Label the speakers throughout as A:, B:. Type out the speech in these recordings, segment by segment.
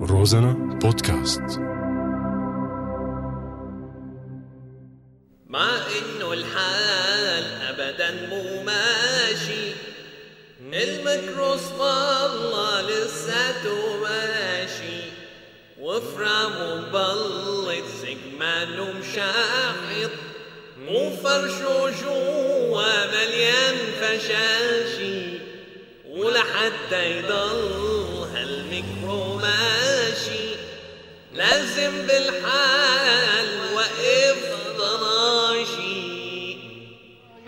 A: روزانا بودكاست
B: مع انه الحال ابدا مو ماشي الميكرو الله لساته ماشي وفرامه مبلط سجمانه مشاحط وفرشه جوا مليان فشاشي ولحتى يضل هالميكرو ماشي لازم بالحال وقف ضناشي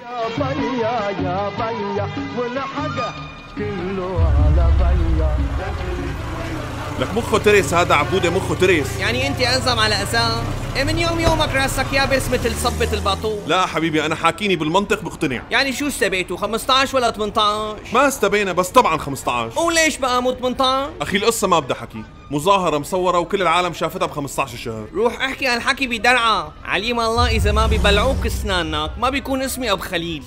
C: يا بيا يا بيا والحق كله على بيا
D: لك مخه ترس هذا عبوده مخه ترس
E: يعني انت انظم على اساس ايه من يوم يومك راسك يابس مثل صبة الباطون
D: لا حبيبي انا حاكيني بالمنطق بقتنع
E: يعني شو استبيتوا 15 ولا 18
D: ما استبينا بس طبعا 15
E: وليش بقى مو 18
D: اخي القصه ما بدها حكي مظاهره مصوره وكل العالم شافتها ب 15 شهر
E: روح احكي هالحكي بدرعة عليم الله اذا ما ببلعوك اسنانك ما بيكون اسمي ابو خليل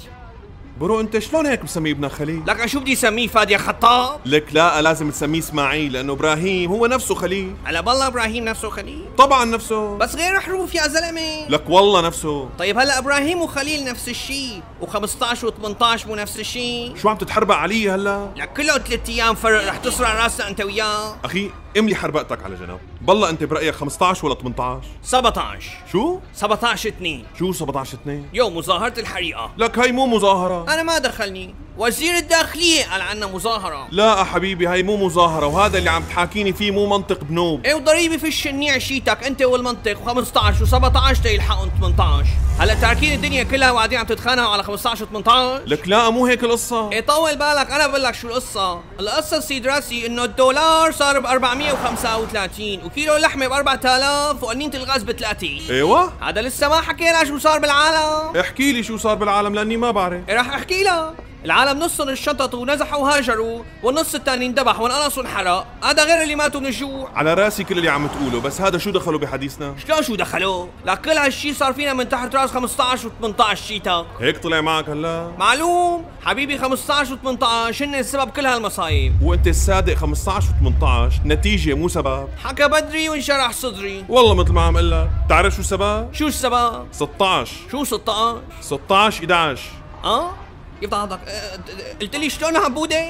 D: برو انت شلون هيك مسميه ابن خليل
E: لك شو بدي اسميه فادي يا خطاب
D: لك لا لازم تسميه اسماعيل لانه ابراهيم هو نفسه خليل
E: هلا بالله ابراهيم نفسه خليل
D: طبعا نفسه
E: بس غير حروف يا زلمه
D: لك والله نفسه
E: طيب هلا ابراهيم وخليل نفس الشيء و15 و18 مو نفس الشيء
D: شو عم تتحربق علي هلا
E: لك كله ثلاث ايام فرق رح تصرع راسنا انت وياه
D: اخي املي حربقتك على جنب بالله انت برايك 15 ولا 18
E: 17
D: شو
E: 17 2
D: شو 17 2
E: يوم مظاهرة الحريقة
D: لك هاي مو مظاهره
E: أنا ما دخلني وزير الداخلية قال عنا مظاهرة
D: لا حبيبي هاي مو مظاهره وهذا اللي عم تحاكيني فيه مو منطق بنوب
E: ايه وضريبة في الشنيع شيتك انت والمنطق و15 و17 تيلحقهم 18 هلا تاركين الدنيا كلها وقاعدين عم تتخانقوا على 15 و18
D: لك لا مو هيك القصة
E: ايه طول بالك انا بقول لك شو القصة القصة سيد راسي انه الدولار صار ب 435 وكيلو اللحمة ب 4000 وقنينة الغاز ب 30
D: ايوه
E: هذا لسه ما حكينا شو صار بالعالم
D: احكي لي شو صار بالعالم لاني ما بعرف
E: إيه رح احكي لك العالم نصهم انشططوا ونزحوا وهاجروا والنص الثاني اندبح وانقصوا انحرق هذا غير اللي ماتوا من الجوع
D: على راسي كل اللي عم تقوله بس هذا شو دخلوا بحديثنا
E: شلون شو دخلوه؟ لك كل هالشي صار فينا من تحت راس 15 و18 شيتك
D: هيك طلع معك هلا
E: معلوم حبيبي 15 و18 هن السبب كل هالمصايب
D: وانت الصادق 15 و18 نتيجة مو سبب
E: حكى بدري وانشرح صدري
D: والله مثل ما عم قلك تعرف شو سبب
E: شو السبب؟
D: 16
E: شو 16
D: 16 11
E: اه يفتح عضك قلت لي شلون عبوده؟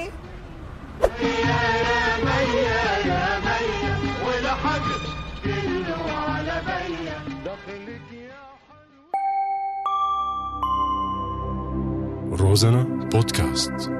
C: والحق كله على بيا دخلك يا
A: روزانا بودكاست